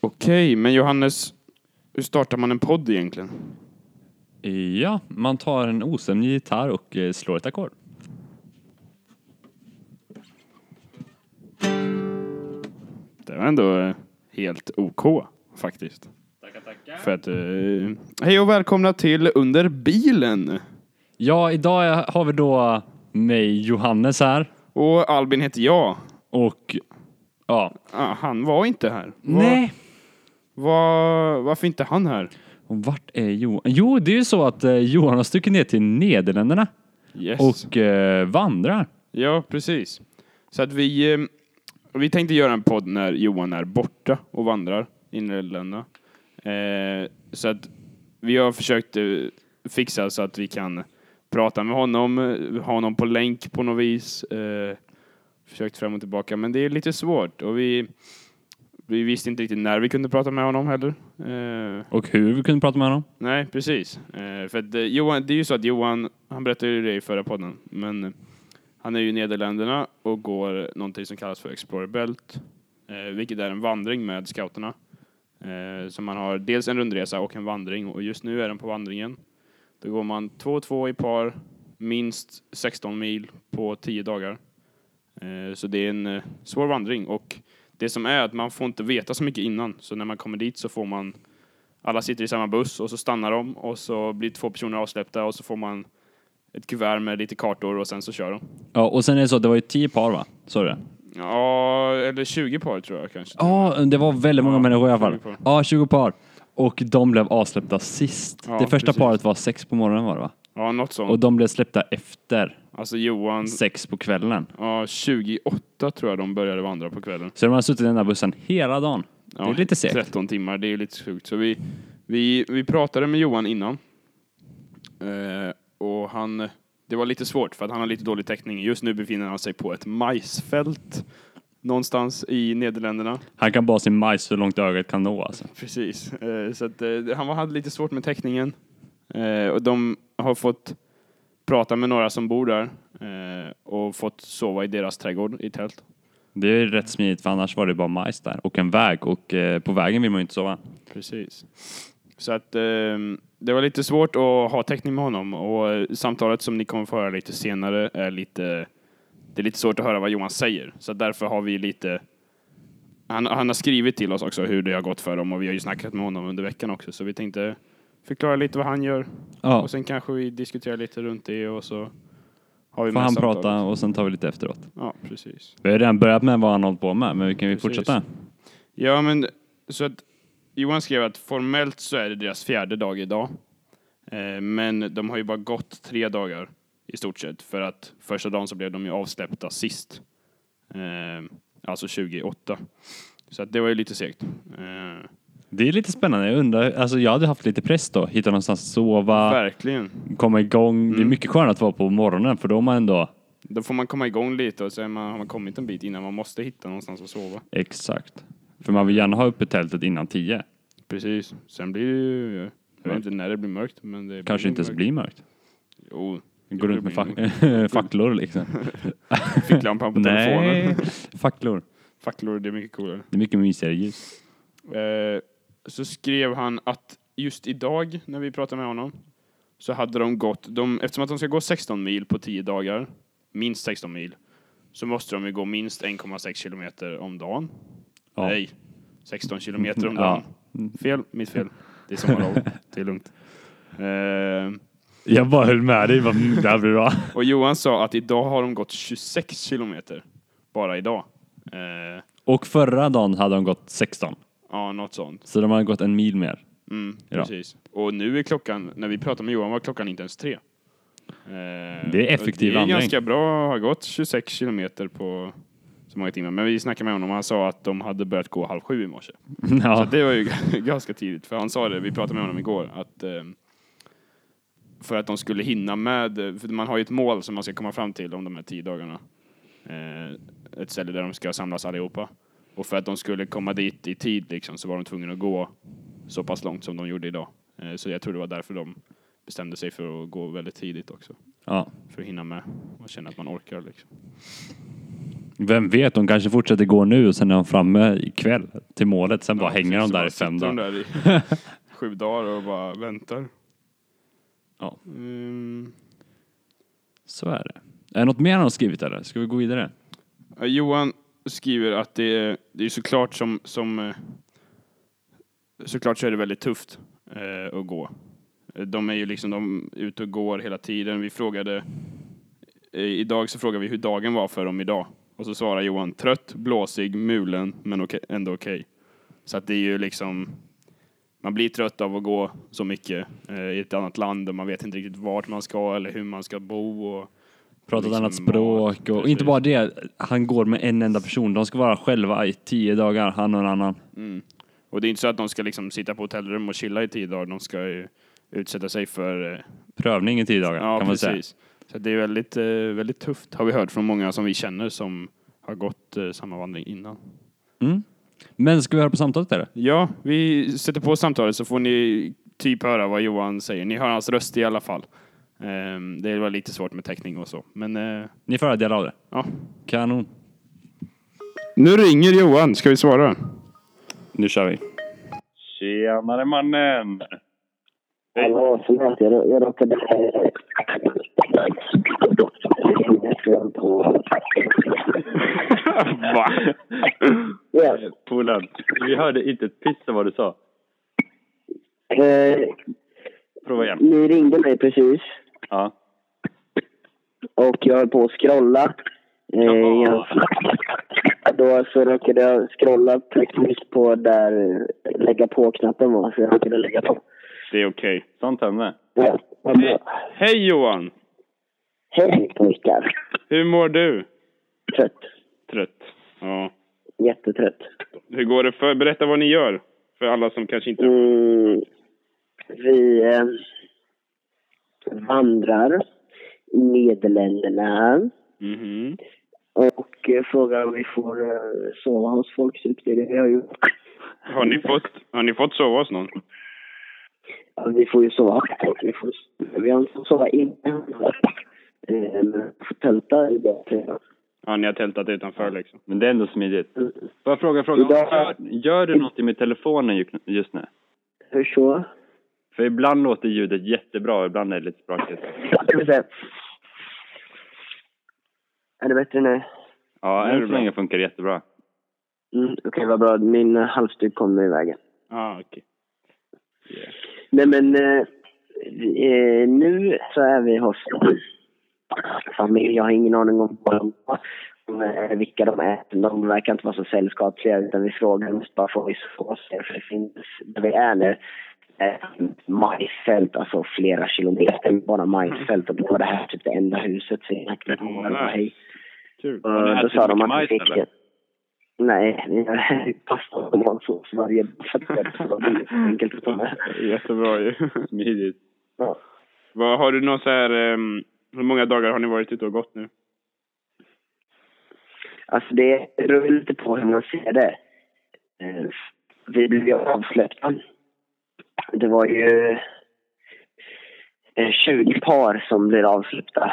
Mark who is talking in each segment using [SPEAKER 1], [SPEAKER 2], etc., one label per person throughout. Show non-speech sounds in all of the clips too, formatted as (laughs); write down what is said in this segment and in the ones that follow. [SPEAKER 1] Okej, men Johannes, hur startar man en podd egentligen?
[SPEAKER 2] Ja, man tar en ostämd gitarr och eh, slår ett ackord.
[SPEAKER 1] Det var ändå eh, helt OK faktiskt. För att, eh, hej och välkomna till Under bilen.
[SPEAKER 2] Ja, idag är- har vi då mig, Johannes, här.
[SPEAKER 1] Och Albin heter jag.
[SPEAKER 2] Och ja,
[SPEAKER 1] Ah, han var inte här. Va-
[SPEAKER 2] nej.
[SPEAKER 1] va- varför inte han här?
[SPEAKER 2] Och vart är Johan? Jo, det är ju så att eh, Johan har stuckit ner till Nederländerna
[SPEAKER 1] Yes.
[SPEAKER 2] och eh, vandrar.
[SPEAKER 1] Ja, precis. Så att vi, eh, vi tänkte göra en podd när Johan är borta och vandrar i Nederländerna. Eh, så att vi har försökt eh, fixa så att vi kan prata med honom, eh, ha honom på länk på något vis. Eh, försökt fram och tillbaka, men det är lite svårt. Och vi, vi visste inte riktigt när vi kunde prata med honom heller. Eh,
[SPEAKER 2] Och hur vi kunde prata med honom.
[SPEAKER 1] Nej, precis. Eh, för att, eh, Johan, det är ju så att Johan, han berättade ju det i förra podden, men eh, han är ju i Nederländerna och går någonting som kallas för Explorer Belt, eh, vilket är en vandring med scouterna. Eh, så man har dels en rundresa och en vandring och just nu är den på vandringen. Då går man två och två i par, minst 16 mil på 10 dagar. Eh, så det är en eh, svår vandring och det som är att man får inte veta så mycket innan, så när man kommer dit så får man alla sitter i samma buss och så stannar de och så blir två personer avsläppta och så får man ett kuvert med lite kartor och sen så kör de.
[SPEAKER 2] Ja, och sen är det så att det var ju tio par, va? Sa du det?
[SPEAKER 1] Ja, eller 20 par tror jag kanske.
[SPEAKER 2] Ja, det var väldigt många
[SPEAKER 1] Ja,
[SPEAKER 2] människor i alla
[SPEAKER 1] 20
[SPEAKER 2] fall.
[SPEAKER 1] par.
[SPEAKER 2] Ja, 20 par. Och de blev avsläppta sist.
[SPEAKER 1] Ja,
[SPEAKER 2] det första
[SPEAKER 1] precis.
[SPEAKER 2] paret var sex på morgonen var det va?
[SPEAKER 1] Ja, något
[SPEAKER 2] Och
[SPEAKER 1] sånt.
[SPEAKER 2] de blev släppta efter
[SPEAKER 1] Alltså Johan,
[SPEAKER 2] sex på kvällen.
[SPEAKER 1] ja, 28 tror jag de började vandra på kvällen.
[SPEAKER 2] Så de har suttit i den där bussen hela dagen.
[SPEAKER 1] Ja,
[SPEAKER 2] det är lite segt.
[SPEAKER 1] 13 timmar, det är lite sjukt. Så vi, vi, vi pratade med Johan innan. Eh, och han, det var lite svårt för att han har lite dålig täckning. Just nu befinner han sig på ett majsfält någonstans i Nederländerna.
[SPEAKER 2] Han kan bara se majs så långt ögat kan nå alltså.
[SPEAKER 1] Precis. Eh, Så att eh, han var- hade lite svårt med täckningen. Eh, Och de har fått prata med några som bor där eh, och fått sova i deras trädgård i tält.
[SPEAKER 2] Det är rätt smidigt för annars var det bara majs där och en väg och eh, på vägen vill man ju inte sova.
[SPEAKER 1] Precis. Så att eh, det var lite svårt att ha täckning med honom och eh, samtalet som ni kommer få höra lite senare är lite det är lite svårt att höra vad Johan säger, så därför har vi lite... Han, han har skrivit till oss också hur det har gått för dem och vi har ju snackat med honom under veckan också, så vi tänkte förklara lite vad han gör
[SPEAKER 2] Ja,
[SPEAKER 1] Och sen kanske vi diskuterar lite runt det och så har vi
[SPEAKER 2] får
[SPEAKER 1] med
[SPEAKER 2] han
[SPEAKER 1] samtalet.
[SPEAKER 2] prata och sen tar vi lite efteråt.
[SPEAKER 1] Ja, precis.
[SPEAKER 2] Vi har ju redan börjat med vad han hållit på med men vi kan ju
[SPEAKER 1] Precis.
[SPEAKER 2] fortsätta.
[SPEAKER 1] Ja, men så att Johan skrev att formellt så är det deras fjärde dag idag. Eh, men de har ju bara gått tre dagar i stort sett för att första dagen så blev de ju avsläppta sist. Eh, alltså 28. Så att det var ju lite segt. Eh,
[SPEAKER 2] Det är lite spännande, jag undrar, alltså jag hade haft lite press då, hitta någonstans att sova.
[SPEAKER 1] Verkligen.
[SPEAKER 2] komma igång. Det är mycket skönare att vara på morgonen för då har man ändå
[SPEAKER 1] Då får man komma igång lite och så är man, har man kommit en bit innan man måste hitta någonstans att sova.
[SPEAKER 2] exakt. För man vill gärna ha uppe tältet innan tio.
[SPEAKER 1] Precis. Sen blir det ju... Jag vet inte när det blir mörkt, men det blir
[SPEAKER 2] Kanske inte ens
[SPEAKER 1] mörkt.
[SPEAKER 2] blir mörkt.
[SPEAKER 1] Jo.
[SPEAKER 2] Gå runt med
[SPEAKER 1] facklan.
[SPEAKER 2] fack- (laughs) facklor liksom.
[SPEAKER 1] Ficklampan på
[SPEAKER 2] (laughs) Nej,
[SPEAKER 1] telefonen.
[SPEAKER 2] facklor.
[SPEAKER 1] Facklor, det är mycket coolare.
[SPEAKER 2] Det är mycket mysigare ljus.
[SPEAKER 1] Eh, så skrev han att just idag, när vi pratade med honom, så hade de gått, de, eftersom att de ska gå 16 mil på 10 dagar, minst 16 mil, så måste de ju gå minst 1,6 kilometer om dagen.
[SPEAKER 2] Ja.
[SPEAKER 1] Nej, 16 kilometer om
[SPEAKER 2] (laughs) Ja.
[SPEAKER 1] dagen. Fel, mitt fel. Det är sommarlov, det är
[SPEAKER 2] (laughs)
[SPEAKER 1] lugnt. Eh,
[SPEAKER 2] Jag bara höll med dig, vad mm, det här blir bra.
[SPEAKER 1] Och Johan sa att idag har de gått 26 kilometer. Bara idag. Eh,
[SPEAKER 2] (laughs) Och förra dagen hade de gått 16.
[SPEAKER 1] ja, något sånt.
[SPEAKER 2] Så de hade gått en mil mer.
[SPEAKER 1] Mm,
[SPEAKER 2] Ja.
[SPEAKER 1] Precis. Och nu är klockan, när vi pratade med Johan var klockan inte ens tre. Eh, det
[SPEAKER 2] är effektiv
[SPEAKER 1] Det är
[SPEAKER 2] vandring.
[SPEAKER 1] ganska bra att ha gått 26 kilometer på så många timmar. Men vi snackade med honom och han sa att de hade börjat gå halv sju i morse. Så
[SPEAKER 2] (laughs) Ja,
[SPEAKER 1] det var ju (laughs) g- ganska tidigt, för han sa det, vi pratade med honom igår, att eh, för att de skulle hinna med, för man har ju ett mål som man ska komma fram till om de här tio dagarna. Eh, ett ställe där de ska samlas allihopa. Och för att de skulle komma dit i tid liksom, så var de tvungna att gå så pass långt som de gjorde idag. Eh, så jag tror det var därför de bestämde sig för att gå väldigt tidigt också.
[SPEAKER 2] ja.
[SPEAKER 1] För att hinna med och känna att man orkar liksom.
[SPEAKER 2] Vem vet, de kanske fortsätter gå nu och sen är de framme ikväll till målet. Sen bara
[SPEAKER 1] Ja,
[SPEAKER 2] hänger de
[SPEAKER 1] precis. Så
[SPEAKER 2] där
[SPEAKER 1] bara
[SPEAKER 2] i
[SPEAKER 1] sitter
[SPEAKER 2] fem
[SPEAKER 1] de
[SPEAKER 2] dagar.
[SPEAKER 1] där i
[SPEAKER 2] (laughs)
[SPEAKER 1] sju dagar och bara väntar.
[SPEAKER 2] Ja.
[SPEAKER 1] Mm.
[SPEAKER 2] Så är det. Är det något mer han har skrivit eller? Ska vi gå vidare?
[SPEAKER 1] Ja, Johan skriver att det är, det är såklart som, som eh, såklart så är det väldigt tufft eh, att gå. Eh, De är ju liksom de är ute och går hela tiden. Vi frågade eh, idag så frågade vi hur dagen var för dem idag och så svarar Johan trött, blåsig, mulen men okej, ändå okej. Så att det är ju liksom man blir trött av att gå så mycket eh, i ett annat land och man vet inte riktigt vart man ska eller hur man ska bo. Och,
[SPEAKER 2] Pratat
[SPEAKER 1] Liksom
[SPEAKER 2] annat
[SPEAKER 1] mat,
[SPEAKER 2] språk och, och
[SPEAKER 1] precis.
[SPEAKER 2] inte bara det. Han går med en enda person. De ska vara själva i tio dagar, han och en annan.
[SPEAKER 1] Och det är inte så att de ska liksom sitta på hotellrum och chilla i tio dagar. De ska ju utsätta sig för... eh,
[SPEAKER 2] Prövning i tio dagar
[SPEAKER 1] Ja,
[SPEAKER 2] kan man säga.
[SPEAKER 1] precis. Så det är väldigt, eh, väldigt tufft har vi hört från många som vi känner som har gått eh, samma vandring innan.
[SPEAKER 2] Mm. Men ska vi höra på samtalet eller?
[SPEAKER 1] Ja, vi sätter på samtalet så får ni typ höra vad Johan säger. Ni hör hans röst i alla fall. Ehm, Det var lite svårt med täckning och så, men eh,
[SPEAKER 2] Ni får höra dialoger.
[SPEAKER 1] ja.
[SPEAKER 2] Kanon.
[SPEAKER 1] Nu ringer Johan, ska vi svara?
[SPEAKER 2] Nu kör vi.
[SPEAKER 3] Tjenare mannen!
[SPEAKER 4] Hallå, förlåt. Jag, rå- jag råkade...
[SPEAKER 3] (laughs) Va?
[SPEAKER 4] Ja,
[SPEAKER 3] Polaren, vi hörde inte ett piss av vad du sa.
[SPEAKER 4] eh,
[SPEAKER 3] Prova igen.
[SPEAKER 4] ni ringde mig precis
[SPEAKER 3] Ja.
[SPEAKER 4] och jag höll på att scrolla. Eh, jag, då så råkade jag scrolla precis på där eh, lägga på-knappen var, så jag råkade lägga på.
[SPEAKER 1] Det är okej.
[SPEAKER 3] Sånt händer.
[SPEAKER 4] Ja, vad bra.
[SPEAKER 1] Hej Johan!
[SPEAKER 4] Hej pojkar.
[SPEAKER 1] Hur mår du?
[SPEAKER 4] Trött.
[SPEAKER 1] Trött. Ja.
[SPEAKER 4] Jättetrött.
[SPEAKER 1] Hur går det för? Berätta vad ni gör. För alla som kanske inte...
[SPEAKER 4] Mm, vi eh, vandrar i Nederländerna här.
[SPEAKER 1] Mhm.
[SPEAKER 4] och eh, frågar om vi får eh, sova hos folk. Typ. Det är det vi har gjort.
[SPEAKER 1] Har, ni fått, har ni fått sova hos någon?
[SPEAKER 4] Ja, vi får ju sova hos folk. Vi, får, vi har inte fått sova inne. Eh, Men får tälta i dag. tror jag.
[SPEAKER 1] Ja, ni har tältat utanför liksom.
[SPEAKER 3] Men det är ändå smidigt. Får jag fråga en fråga?
[SPEAKER 4] Idag-
[SPEAKER 3] Gör, gör du någonting med telefonen ju- just nu?
[SPEAKER 4] Hur så?
[SPEAKER 3] För ibland låter ljudet jättebra och ibland är det lite sprakigt.
[SPEAKER 4] Ska vi se. Är det bättre nu?
[SPEAKER 3] Ja,
[SPEAKER 1] Nu är det
[SPEAKER 3] än så
[SPEAKER 1] bra.
[SPEAKER 3] länge funkar det jättebra.
[SPEAKER 4] Mm, Okej, vad bra. Min eh, halsduk kom nu i vägen.
[SPEAKER 1] Ah, okej.
[SPEAKER 4] Nej, men eh, eh, nu så är vi hos familj. Jag har ingen aning om vad de om, eh, vilka de är. De verkar inte vara så sällskapliga utan vi frågar mest bara får vi sova hos er? För det finns, där vi är nu, eh, majsfält, alltså flera kilometer med bara majsfält. Och då var det här typ det enda huset. Så jag knackade på
[SPEAKER 1] Mm,
[SPEAKER 4] och bara,
[SPEAKER 1] nice.
[SPEAKER 4] hej.
[SPEAKER 1] Kul.
[SPEAKER 4] Och
[SPEAKER 3] Har ni
[SPEAKER 4] då
[SPEAKER 3] ätit
[SPEAKER 4] sa de
[SPEAKER 3] mycket
[SPEAKER 4] att vi
[SPEAKER 3] majs,
[SPEAKER 4] fick
[SPEAKER 3] eller?
[SPEAKER 4] Nej, vi har pasta och tomatsås varje dag. Så att det var enkelt att ta med.
[SPEAKER 1] (laughs) Jättebra ju.
[SPEAKER 3] Smidigt.
[SPEAKER 4] Ja.
[SPEAKER 1] Vad, har du någon så här... ehm, hur många dagar har ni varit ute och gått nu?
[SPEAKER 4] Alltså det beror ju lite på hur man ser det. Eh, Vi blev ju avsläppta. Det var ju eh, 20 par som blev avsläppta.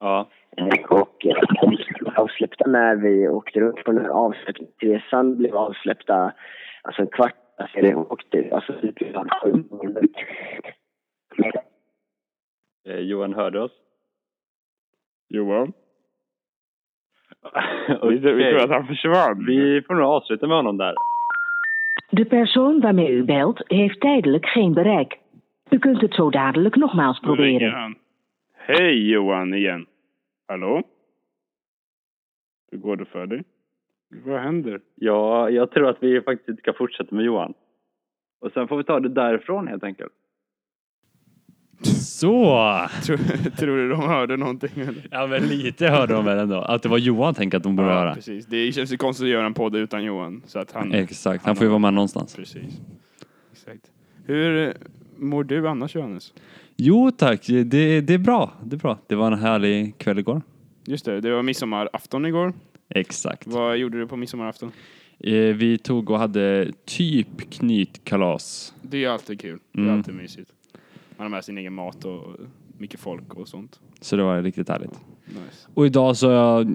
[SPEAKER 3] Ja.
[SPEAKER 4] Eh, Och eh, de blev avsläppta när vi åkte upp på den här avsläppningsresan blev avsläppta alltså en kvart efter det åkte. Alltså typ redan sju.
[SPEAKER 3] Eh, Johan hörde oss. (laughs)
[SPEAKER 1] Johan? Vi, vi tror
[SPEAKER 3] Okej.
[SPEAKER 1] att han försvann.
[SPEAKER 3] Vi får nog avsluta med honom där.
[SPEAKER 5] De persoon waarmee u belt heeft tijdelijk geen bereik. U kunt het zo dadelijk nogmaals
[SPEAKER 1] Nu ringer
[SPEAKER 5] proberen.
[SPEAKER 1] han. Hej Johan igen. Hallå? Hur går det för dig? Vad händer?
[SPEAKER 3] Ja, jag tror att vi faktiskt inte ska fortsätta med Johan. Och sen får vi ta det därifrån helt enkelt.
[SPEAKER 2] Så!
[SPEAKER 1] Tror, tror du de hörde någonting eller?
[SPEAKER 2] Ja men lite hörde de väl ändå. Att det var Johan tänker att de borde
[SPEAKER 1] Ja,
[SPEAKER 2] höra. Mm.
[SPEAKER 1] precis. Det känns ju konstigt att göra en podd utan Johan. Så att han...
[SPEAKER 2] Exakt, han får ju vara med någonstans.
[SPEAKER 1] Precis. Exakt. Hur eh, mår du annars Johannes?
[SPEAKER 2] Jo tack, det, det är bra. Det är bra. Det var en härlig kväll igår.
[SPEAKER 1] Just det, det var midsommarafton igår.
[SPEAKER 2] Exakt.
[SPEAKER 1] Vad gjorde du på midsommarafton?
[SPEAKER 2] Eh, Vi tog och hade typ knytkalas.
[SPEAKER 1] Det är ju alltid kul. Det är
[SPEAKER 2] Mm.
[SPEAKER 1] alltid mysigt. Man har med sin egen mat och mycket folk och sånt.
[SPEAKER 2] Så det var riktigt härligt.
[SPEAKER 1] Nice.
[SPEAKER 2] Och idag så har jag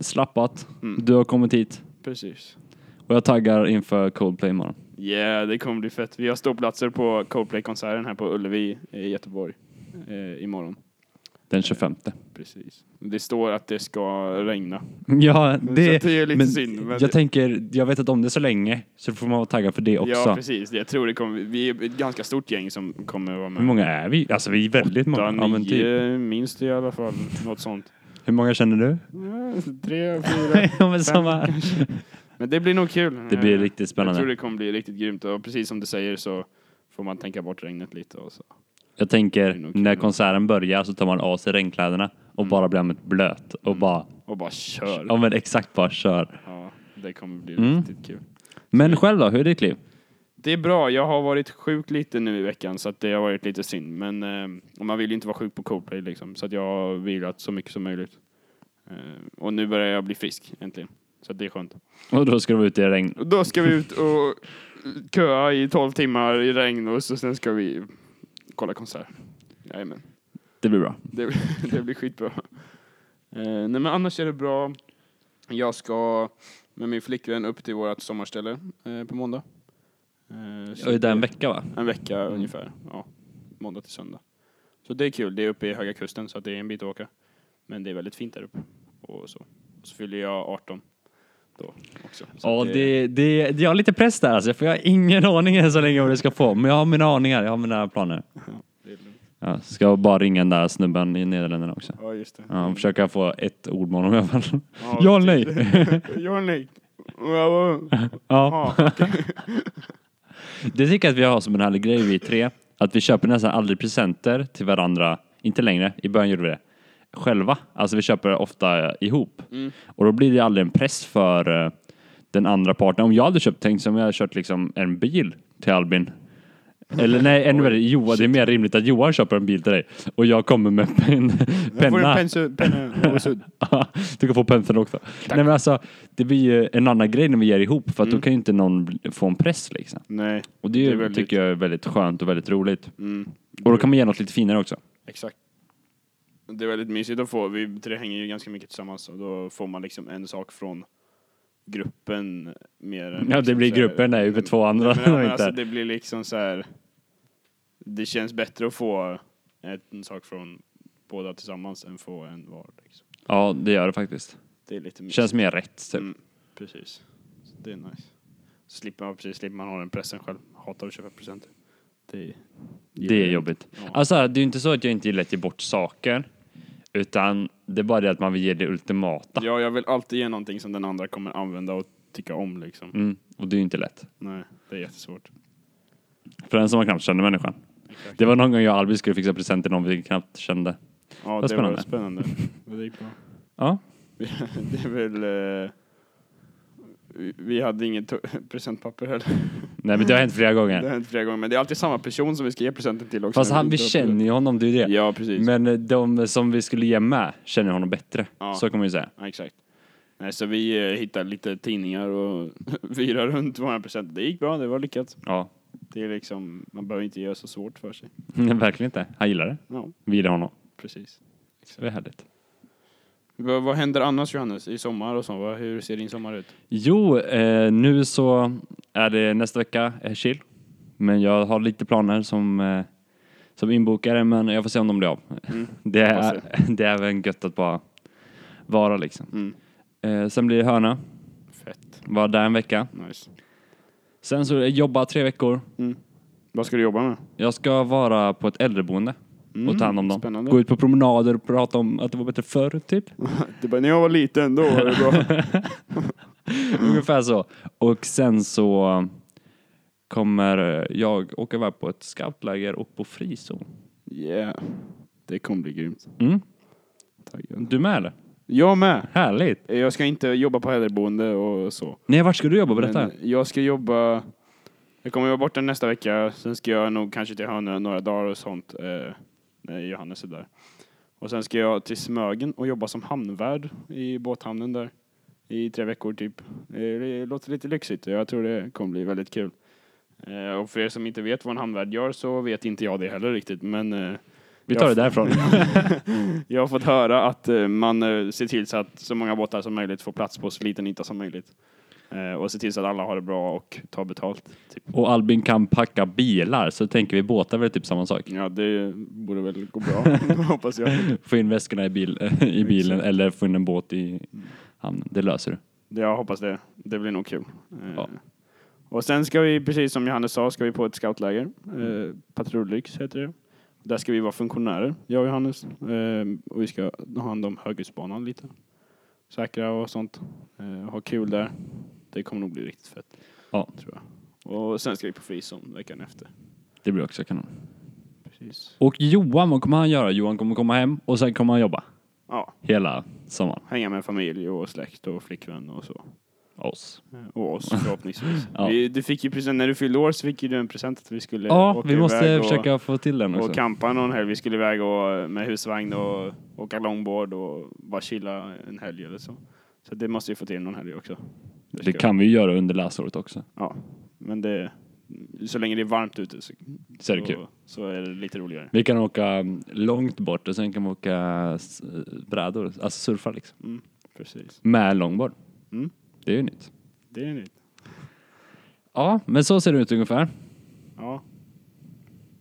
[SPEAKER 2] slappat.
[SPEAKER 1] Mm.
[SPEAKER 2] Du har kommit hit.
[SPEAKER 1] Precis.
[SPEAKER 2] Och jag taggar inför Coldplay imorgon.
[SPEAKER 1] Ja, det kommer bli fett. Vi har ståplatser på Coldplay-konserten här på Ullevi i Göteborg eh, imorgon.
[SPEAKER 2] Den 25.
[SPEAKER 1] Precis. Det står att det ska regna.
[SPEAKER 2] (laughs) Ja,
[SPEAKER 1] det
[SPEAKER 2] det,
[SPEAKER 1] är lite synd, men det-
[SPEAKER 2] jag tänker, jag vet inte om det så länge, så får man vara taggad för det också.
[SPEAKER 1] Ja, precis. Jag tror det kommer, vi är ett ganska stort gäng som kommer att vara med.
[SPEAKER 2] Hur många är vi? Alltså vi är väldigt många.
[SPEAKER 1] Åtta,
[SPEAKER 2] Ja, men
[SPEAKER 1] nio,
[SPEAKER 2] typ.
[SPEAKER 1] minst i alla fall. Något sånt.
[SPEAKER 2] Hur många känner du?
[SPEAKER 1] Ja, (laughs) Tre, fyra.
[SPEAKER 2] (laughs) ja, men
[SPEAKER 1] fem
[SPEAKER 2] samma. här.
[SPEAKER 1] Men det blir nog kul.
[SPEAKER 2] Det blir
[SPEAKER 1] Eh,
[SPEAKER 2] riktigt
[SPEAKER 1] Jag
[SPEAKER 2] spännande.
[SPEAKER 1] tror det kommer bli riktigt grymt och precis som du säger så får man tänka bort regnet lite och så.
[SPEAKER 2] Jag
[SPEAKER 1] är nog
[SPEAKER 2] tänker,
[SPEAKER 1] kul.
[SPEAKER 2] när konserten börjar så tar man av sig regnkläderna och bara blir allmänt blöt och bara,
[SPEAKER 1] Och bara Mm. kör.
[SPEAKER 2] ja men exakt bara kör.
[SPEAKER 1] Ja, det kommer bli
[SPEAKER 2] Mm.
[SPEAKER 1] riktigt kul.
[SPEAKER 2] Men själv då, hur är ditt liv?
[SPEAKER 1] Det är bra, jag har varit sjuk lite nu i veckan så att det har varit lite synd. Men eh, och man vill ju inte vara sjuk på Coldplay liksom så att jag har vilat så mycket som möjligt. Eh, och nu börjar jag bli frisk äntligen. Så att det är skönt.
[SPEAKER 2] Och då ska du vara ute i regn.
[SPEAKER 1] Och då ska vi ut och köa i 12 timmar i regn och så sen ska vi kolla konsert. Jajamän.
[SPEAKER 2] Det blir bra.
[SPEAKER 1] Det, (laughs) det blir skitbra. Eh, nej men annars är det bra. Jag ska med min flickvän upp till vårt sommarställe eh, på måndag. Eh, så
[SPEAKER 2] Och det är en
[SPEAKER 1] det-
[SPEAKER 2] vecka va?
[SPEAKER 1] en vecka ungefär. Ja, måndag till söndag. Så det är kul. Det är uppe i Höga Kusten så att det är en bit att åka. Men det är väldigt fint där uppe. Och så, så fyller jag 18 då också. Så
[SPEAKER 2] Ja,
[SPEAKER 1] att
[SPEAKER 2] det, det, jag har lite press där alltså, för jag har ingen (laughs) aning än så länge vad det ska få. Men jag har mina aningar, jag har mina planer.
[SPEAKER 1] det är lugnt.
[SPEAKER 2] Ja, ska jag bara ringa den där snubben i Nederländerna också.
[SPEAKER 1] Ja, just det.
[SPEAKER 2] Ja, och försöka få ett ord med honom i alla fall.
[SPEAKER 1] Ja,
[SPEAKER 2] Ja,
[SPEAKER 1] typ.
[SPEAKER 2] nej.
[SPEAKER 1] (laughs) Ja, nej. Ja,
[SPEAKER 2] Ja.
[SPEAKER 1] ja.
[SPEAKER 2] Det tycker jag att vi har som en härlig grej vi tre. Att vi köper nästan aldrig presenter till varandra. Inte längre, i början gjorde vi det. Själva. Alltså vi köper ofta eh, ihop.
[SPEAKER 1] Mm.
[SPEAKER 2] Och då blir det aldrig en press för eh, den andra parten. Om jag hade köpt, tänk som jag hade köpt liksom en bil till Albin. Eller nej, ännu värre, Johan, det är mer rimligt att Johan köper en bil till dig. Och jag kommer med
[SPEAKER 1] (laughs)
[SPEAKER 2] en
[SPEAKER 1] Jag får
[SPEAKER 2] penna.
[SPEAKER 1] en pensu- penna och sudd.
[SPEAKER 2] Ja, (laughs) du kan få penseln också. Nej men alltså, det blir ju en annan grej när vi ger ihop för att
[SPEAKER 1] Mm.
[SPEAKER 2] då kan ju inte någon bli- få en press liksom.
[SPEAKER 1] Nej,
[SPEAKER 2] Och det,
[SPEAKER 1] är väldigt- mm.
[SPEAKER 2] tycker jag är väldigt skönt och väldigt roligt. Och då kan man ge något lite finare också.
[SPEAKER 1] exakt. Det är väldigt mysigt att få. Vi tre hänger ju ganska mycket tillsammans och då får man liksom en sak från gruppen mer än
[SPEAKER 2] Ja, det
[SPEAKER 1] liksom
[SPEAKER 2] blir
[SPEAKER 1] så här-
[SPEAKER 2] gruppen där ju för två andra.
[SPEAKER 1] Nej, men, ja, men
[SPEAKER 2] inte.
[SPEAKER 1] alltså, det blir liksom så här. Det känns bättre att få ett, en sak från båda tillsammans än få en var. Liksom.
[SPEAKER 2] Ja, det gör det faktiskt.
[SPEAKER 1] Det är lite mysigt.
[SPEAKER 2] Känns mer rätt typ.
[SPEAKER 1] Mm, precis. Så det är nice. Så slipper man, precis, slipper man ha den pressen själv. Hatar att köpa presenter. Det är,
[SPEAKER 2] Det är jobbigt.
[SPEAKER 1] Ja.
[SPEAKER 2] Alltså, det är ju inte så att jag inte gillar att ge bort saker. Utan det är bara det att man vill ge det ultimata.
[SPEAKER 1] Ja, jag vill alltid ge någonting som den andra kommer använda och tycka om liksom.
[SPEAKER 2] Mm. Och det är ju inte lätt.
[SPEAKER 1] Nej, det är jättesvårt.
[SPEAKER 2] För den som man knappt känner människan.
[SPEAKER 1] Exakt.
[SPEAKER 2] Det var någon gång jag och Albin skulle fixa present till någon vi knappt kände.
[SPEAKER 1] Ja, det
[SPEAKER 2] Vad
[SPEAKER 1] var
[SPEAKER 2] (laughs)
[SPEAKER 1] spännande. Men det gick bra.
[SPEAKER 2] Ja,
[SPEAKER 1] det är väl... Eh, vi- vi hade inget to- (laughs) presentpapper heller.
[SPEAKER 2] nej men det har hänt flera
[SPEAKER 1] Det
[SPEAKER 2] gånger.
[SPEAKER 1] har hänt flera gånger, men det är alltid samma person som vi ska ge presenten till också.
[SPEAKER 2] Fast han, vi
[SPEAKER 1] Ja,
[SPEAKER 2] känner ju honom, det är ju det.
[SPEAKER 1] Ja, precis.
[SPEAKER 2] Men eh, de som vi skulle ge med känner honom bättre.
[SPEAKER 1] Ja.
[SPEAKER 2] Så kan man ju säga.
[SPEAKER 1] Ja, exakt. Nej, så vi eh, hittade lite tidningar och (laughs) virade runt våra presenter. Det gick bra, det var lyckat.
[SPEAKER 2] Ja,
[SPEAKER 1] Det är liksom, man behöver inte göra så svårt för sig.
[SPEAKER 2] Nej, Mm, verkligen inte. Han gillar det.
[SPEAKER 1] Ja,
[SPEAKER 2] Vi gillar honom.
[SPEAKER 1] precis.
[SPEAKER 2] Så det är härligt.
[SPEAKER 1] V- vad händer annars Johannes, i sommar och så? Vad- Hur ser din sommar ut?
[SPEAKER 2] Jo, eh, nu så är det nästa vecka är chill. Men jag har lite planer som, eh, som inbokare, men jag får se om de blir av. (laughs) Det, är, det är väl gött att bara vara liksom.
[SPEAKER 1] Mm.
[SPEAKER 2] Eh, sen blir det Hörna,
[SPEAKER 1] Fett.
[SPEAKER 2] vara där en vecka.
[SPEAKER 1] Nice.
[SPEAKER 2] Sen så eh, jobba tre veckor.
[SPEAKER 1] Vad ska du jobba med?
[SPEAKER 2] Jag ska vara på ett äldreboende och ta hand om dem.
[SPEAKER 1] spännande.
[SPEAKER 2] Gå ut på promenader och prata om att det var bättre förr, typ.
[SPEAKER 1] (laughs) Det bara, när jag var liten, då var det bra.
[SPEAKER 2] Ungefär så. Och sen så kommer jag åka iväg på ett scoutläger och på frizon.
[SPEAKER 1] (laughs) Yeah. Det kommer bli grymt.
[SPEAKER 2] Mm.
[SPEAKER 1] Taggad.
[SPEAKER 2] Du med eller?
[SPEAKER 1] Jag med!
[SPEAKER 2] Härligt!
[SPEAKER 1] Jag ska inte jobba på äldreboende och så.
[SPEAKER 2] Nej, vart ska du jobba? Berätta.
[SPEAKER 1] Men jag ska jobba... Jag kommer vara borta nästa vecka, sen ska jag nog kanske till Hönö några dagar och sånt. Eh, när Johannes är där. Och sen ska jag till Smögen och jobba som hamnvärd i båthamnen där. I tre veckor typ. Eh, det låter lite lyxigt och jag tror det kommer bli väldigt kul. Eh, och för er som inte vet vad en hamnvärd gör så vet inte jag det heller riktigt. Men eh,
[SPEAKER 2] Vi tar
[SPEAKER 1] Ja.
[SPEAKER 2] det
[SPEAKER 1] (laughs)
[SPEAKER 2] därifrån.
[SPEAKER 1] Jag har fått höra att eh, man eh, ser till så att så många båtar som möjligt får plats på så liten yta som möjligt. Eh, och ser till så att alla har det bra och tar betalt. Typ.
[SPEAKER 2] Och Albin kan packa bilar, så tänker vi båtar väl typ samma sak.
[SPEAKER 1] Ja, det borde väl gå bra, (laughs) hoppas jag.
[SPEAKER 2] Få in väskorna i, bil, (laughs) i bilen eller få in en båt i hamnen. Det löser du.
[SPEAKER 1] Jag hoppas det. Det blir nog kul. Eh,
[SPEAKER 2] Ja.
[SPEAKER 1] Och sen ska vi, precis som Johannes sa, ska vi på ett scoutläger. Eh, Patrullryx heter det. Där ska vi vara funktionärer, jag och Johannes. Eh, och vi ska ha hand om höghusbanan lite. Säkra och sånt. Eh, ha kul där. Det kommer nog bli riktigt fett.
[SPEAKER 2] Ja,
[SPEAKER 1] tror jag. Och sen ska vi på frizon veckan efter.
[SPEAKER 2] det blir också kanon.
[SPEAKER 1] Precis.
[SPEAKER 2] Och Johan, vad kommer han göra? Johan kommer komma hem och sen kommer han jobba.
[SPEAKER 1] Ja,
[SPEAKER 2] Hela sommaren.
[SPEAKER 1] hänga med familj och släkt och flickvän och så.
[SPEAKER 2] Oss.
[SPEAKER 1] Och oss förhoppningsvis.
[SPEAKER 2] (laughs) Ja.
[SPEAKER 1] vi, du fick ju present, när du fyllde år så fick ju du en present att vi skulle
[SPEAKER 2] Ja,
[SPEAKER 1] åka
[SPEAKER 2] vi måste
[SPEAKER 1] iväg
[SPEAKER 2] försöka få till den
[SPEAKER 1] och, och
[SPEAKER 2] också.
[SPEAKER 1] campa någon helg. Vi skulle iväg och, med husvagn och åka longboard och bara chilla en helg eller så. Så det måste vi få till någon helg också. ska
[SPEAKER 2] Det kan vi ju göra under läsåret också.
[SPEAKER 1] vi. Ja, men det, så länge det är varmt ute så,
[SPEAKER 2] Så är det kul.
[SPEAKER 1] så är det lite roligare.
[SPEAKER 2] Vi kan åka mm, långt bort och sen kan vi åka s- brädor, alltså surfa liksom.
[SPEAKER 1] Mm, precis.
[SPEAKER 2] Med longboard.
[SPEAKER 1] Mm.
[SPEAKER 2] Det är ju nytt.
[SPEAKER 1] Det är nytt.
[SPEAKER 2] Ja, men så ser det ut ungefär.
[SPEAKER 1] Ja.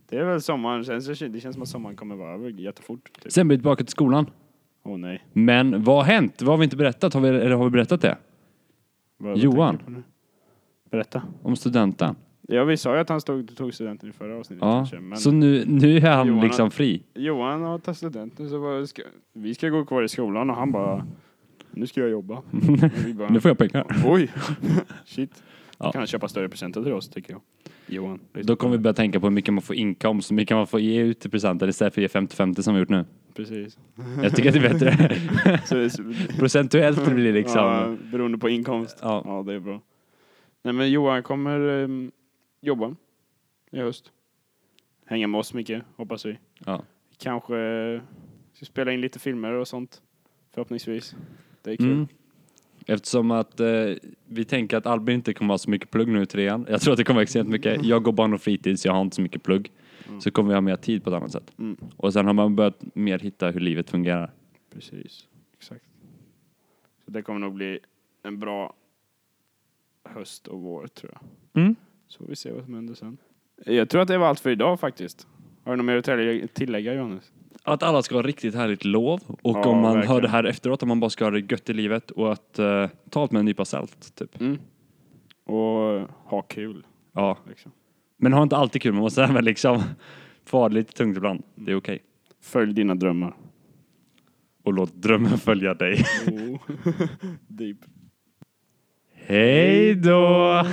[SPEAKER 1] Det är väl sommaren, sen så det känns som att sommaren kommer vara över jättefort. Typ.
[SPEAKER 2] Sen blir vi tillbaka till skolan.
[SPEAKER 1] Åh nej.
[SPEAKER 2] Men vad har hänt? Vad har vi inte berättat? Har vi, eller har vi berättat det?
[SPEAKER 1] Vad- vad
[SPEAKER 2] Johan.
[SPEAKER 1] tänker du på nu? Berätta.
[SPEAKER 2] Om studenten?
[SPEAKER 1] Ja, vi sa ju att han stod, tog studenten i förra avsnittet
[SPEAKER 2] Ja.
[SPEAKER 1] kanske, men
[SPEAKER 2] Så nu, nu är han
[SPEAKER 1] Johan har-
[SPEAKER 2] liksom fri.
[SPEAKER 1] Johan har tagit studenten så vad ska, vi ska gå kvar i skolan och han bara nu ska jag
[SPEAKER 2] (laughs)
[SPEAKER 1] jobba. Och vi bara,
[SPEAKER 2] Nu får jag pengar. (laughs)
[SPEAKER 1] Oj, shit.
[SPEAKER 2] Ja.
[SPEAKER 1] Kan han köpa större presenter till oss tycker jag. Johan. liksom.
[SPEAKER 2] Då kommer vi börja tänka på hur mycket man får inkomst, hur mycket man får ge ut i presenter istället för att ge 50-50 som vi gjort nu. (laughs)
[SPEAKER 1] Precis.
[SPEAKER 2] Jag tycker att det är bättre.
[SPEAKER 1] (laughs) Så, så,
[SPEAKER 2] Procentuellt blir det liksom...
[SPEAKER 1] Ja, beroende på inkomst.
[SPEAKER 2] Ja.
[SPEAKER 1] Ja. det är bra. Nej, men Johan kommer ehm, jobba i höst. Hänga med oss mycket, hoppas vi.
[SPEAKER 2] Ja.
[SPEAKER 1] Kanske eh, ska spela in lite filmer och sånt, förhoppningsvis. Det är kul.
[SPEAKER 2] Mm. Eftersom att eh, vi tänker att Albin inte kommer ha så mycket plugg nu i trean. Jag tror att det kommer vara extremt mycket. Jag går barn och fritid så jag har inte så mycket plugg. Så kommer vi ha mer tid på ett annat sätt.
[SPEAKER 1] Mm.
[SPEAKER 2] Och sen har man börjat mer hitta hur livet fungerar.
[SPEAKER 1] Precis, exakt. Så det kommer nog bli en bra höst och vår, tror jag.
[SPEAKER 2] Mm.
[SPEAKER 1] Så får vi se vad som händer sen. Jag tror att det var allt för idag faktiskt. Har du något mer att tillägga- tillägga, Johannes?
[SPEAKER 2] Att alla ska ha riktigt härligt lov och
[SPEAKER 1] Ja,
[SPEAKER 2] om man
[SPEAKER 1] verkligen.
[SPEAKER 2] hör det här efteråt, att man bara ska ha det gött i livet och att eh, ta allt med en nypa salt. Typ.
[SPEAKER 1] Mm. Och ha kul,
[SPEAKER 2] Ja.
[SPEAKER 1] liksom.
[SPEAKER 2] Men ha inte alltid kul, man måste även liksom (laughs) få ha det lite tungt ibland. Det är okej.
[SPEAKER 1] Följ dina drömmar.
[SPEAKER 2] Och låt drömmen följa
[SPEAKER 1] Oh. (laughs)
[SPEAKER 2] dig.
[SPEAKER 1] Deep.
[SPEAKER 2] Hej då!